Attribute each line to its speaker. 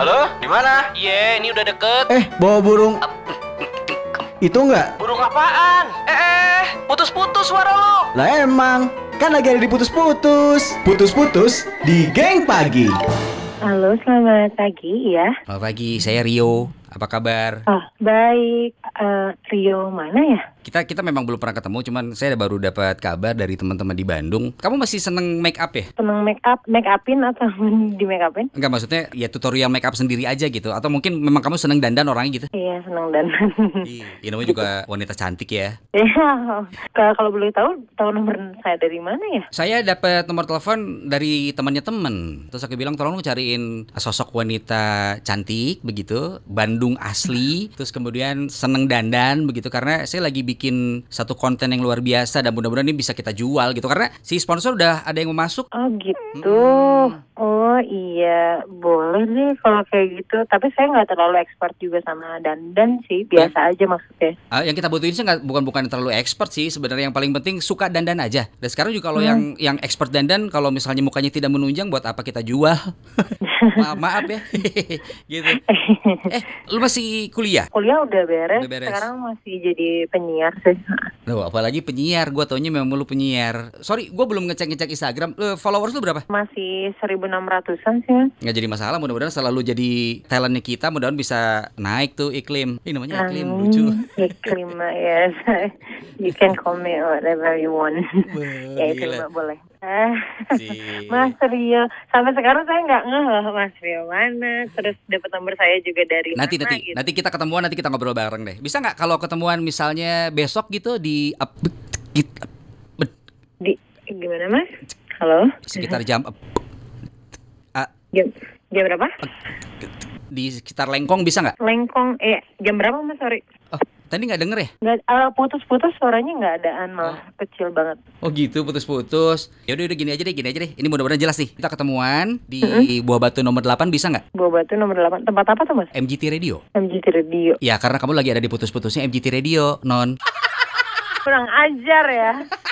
Speaker 1: Halo, di mana?
Speaker 2: Iya, ini udah deket.
Speaker 3: Eh, bawa burung itu enggak?
Speaker 1: Burung apaan?
Speaker 2: Eh, eh, putus-putus suara lo.
Speaker 3: Lah emang, kan lagi ada di putus-putus. Putus-putus di geng pagi.
Speaker 4: Halo, selamat pagi ya.
Speaker 5: Selamat pagi, saya Rio. Apa kabar?
Speaker 4: Oh, baik. Eh, Rio mana ya?
Speaker 5: Kita kita memang belum pernah ketemu, cuman saya baru dapat kabar dari teman-teman di Bandung. Kamu masih seneng make up ya?
Speaker 4: Seneng make up, make upin atau di make upin?
Speaker 5: Enggak maksudnya ya tutorial make up sendiri aja gitu atau mungkin memang kamu seneng dandan orangnya gitu?
Speaker 4: Iya, seneng dan.
Speaker 5: Iya, namanya juga wanita cantik ya.
Speaker 4: Iya. Kalau kalau boleh tahu, tahu nomor saya dari mana ya?
Speaker 5: Saya dapat nomor telepon dari temannya temen. Terus aku bilang tolong lu cariin sosok wanita cantik begitu, Bandung asli, terus kemudian seneng dandan begitu karena saya lagi bikin satu konten yang luar biasa dan mudah-mudahan ini bisa kita jual gitu karena si sponsor udah ada yang mau masuk.
Speaker 4: Oh gitu. Oh iya, boleh nih kalau kayak gitu. Tapi saya nggak terlalu expert juga sama dandan sih, biasa aja maksudnya.
Speaker 5: Ah, yang kita butuhin sih nggak bukan bukan terlalu expert sih sebenarnya yang paling penting suka dandan aja. Dan sekarang juga kalau yang yang expert dandan kalau misalnya mukanya tidak menunjang buat apa kita jual? maaf, maaf ya. gitu. Eh, lu masih kuliah?
Speaker 4: Kuliah udah beres,
Speaker 5: Udah beres.
Speaker 4: sekarang masih jadi penyiar sih.
Speaker 5: Loh, apalagi penyiar. Gua taunya memang lu penyiar. Sorry, gua belum ngecek-ngecek Instagram. Eh, followers lu berapa?
Speaker 4: Masih 1600-an sih. Mas.
Speaker 5: Nggak jadi masalah, mudah-mudahan selalu jadi talentnya kita, mudah-mudahan bisa naik tuh iklim. Ini namanya iklim
Speaker 4: Um,
Speaker 5: lucu.
Speaker 4: Iklim, yes. you can call me whatever you want.
Speaker 5: Wah,
Speaker 4: ya iklim
Speaker 5: Oh, gila.
Speaker 4: boleh. Ah,
Speaker 5: Si-
Speaker 4: Mas Rio, sampai sekarang saya nggak ngeh loh, Mas Rio mana. Terus dapat nomor saya juga dari
Speaker 5: Nanti
Speaker 4: mana,
Speaker 5: nanti
Speaker 4: gitu.
Speaker 5: nanti kita ketemuan nanti kita ngobrol bareng deh. Bisa nggak kalau ketemuan misalnya besok gitu di ap- git- ap-
Speaker 4: Di, gimana Mas? Halo.
Speaker 5: sekitar jam ap- a-
Speaker 4: Jam, jam berapa?
Speaker 5: di sekitar Lengkong bisa nggak?
Speaker 4: Lengkong. Eh, jam berapa Mas? Sorry.
Speaker 5: Oh, tadi nggak denger ya?
Speaker 4: Nggak, eh, putus-putus suaranya nggak adaan malah kecil banget.
Speaker 5: Oh gitu putus-putus. Ya udah udah gini aja deh, gini aja deh. Ini mudah-mudahan jelas nih. Kita ketemuan di Buah Batu nomor 8 bisa nggak?
Speaker 4: Buah batu nomor 8. Tempat apa tuh Mas?
Speaker 5: MGT Radio.
Speaker 4: MGT Radio.
Speaker 5: Ya karena kamu lagi ada di putus-putusnya MGT Radio, Non.
Speaker 4: Kurang ajar ya.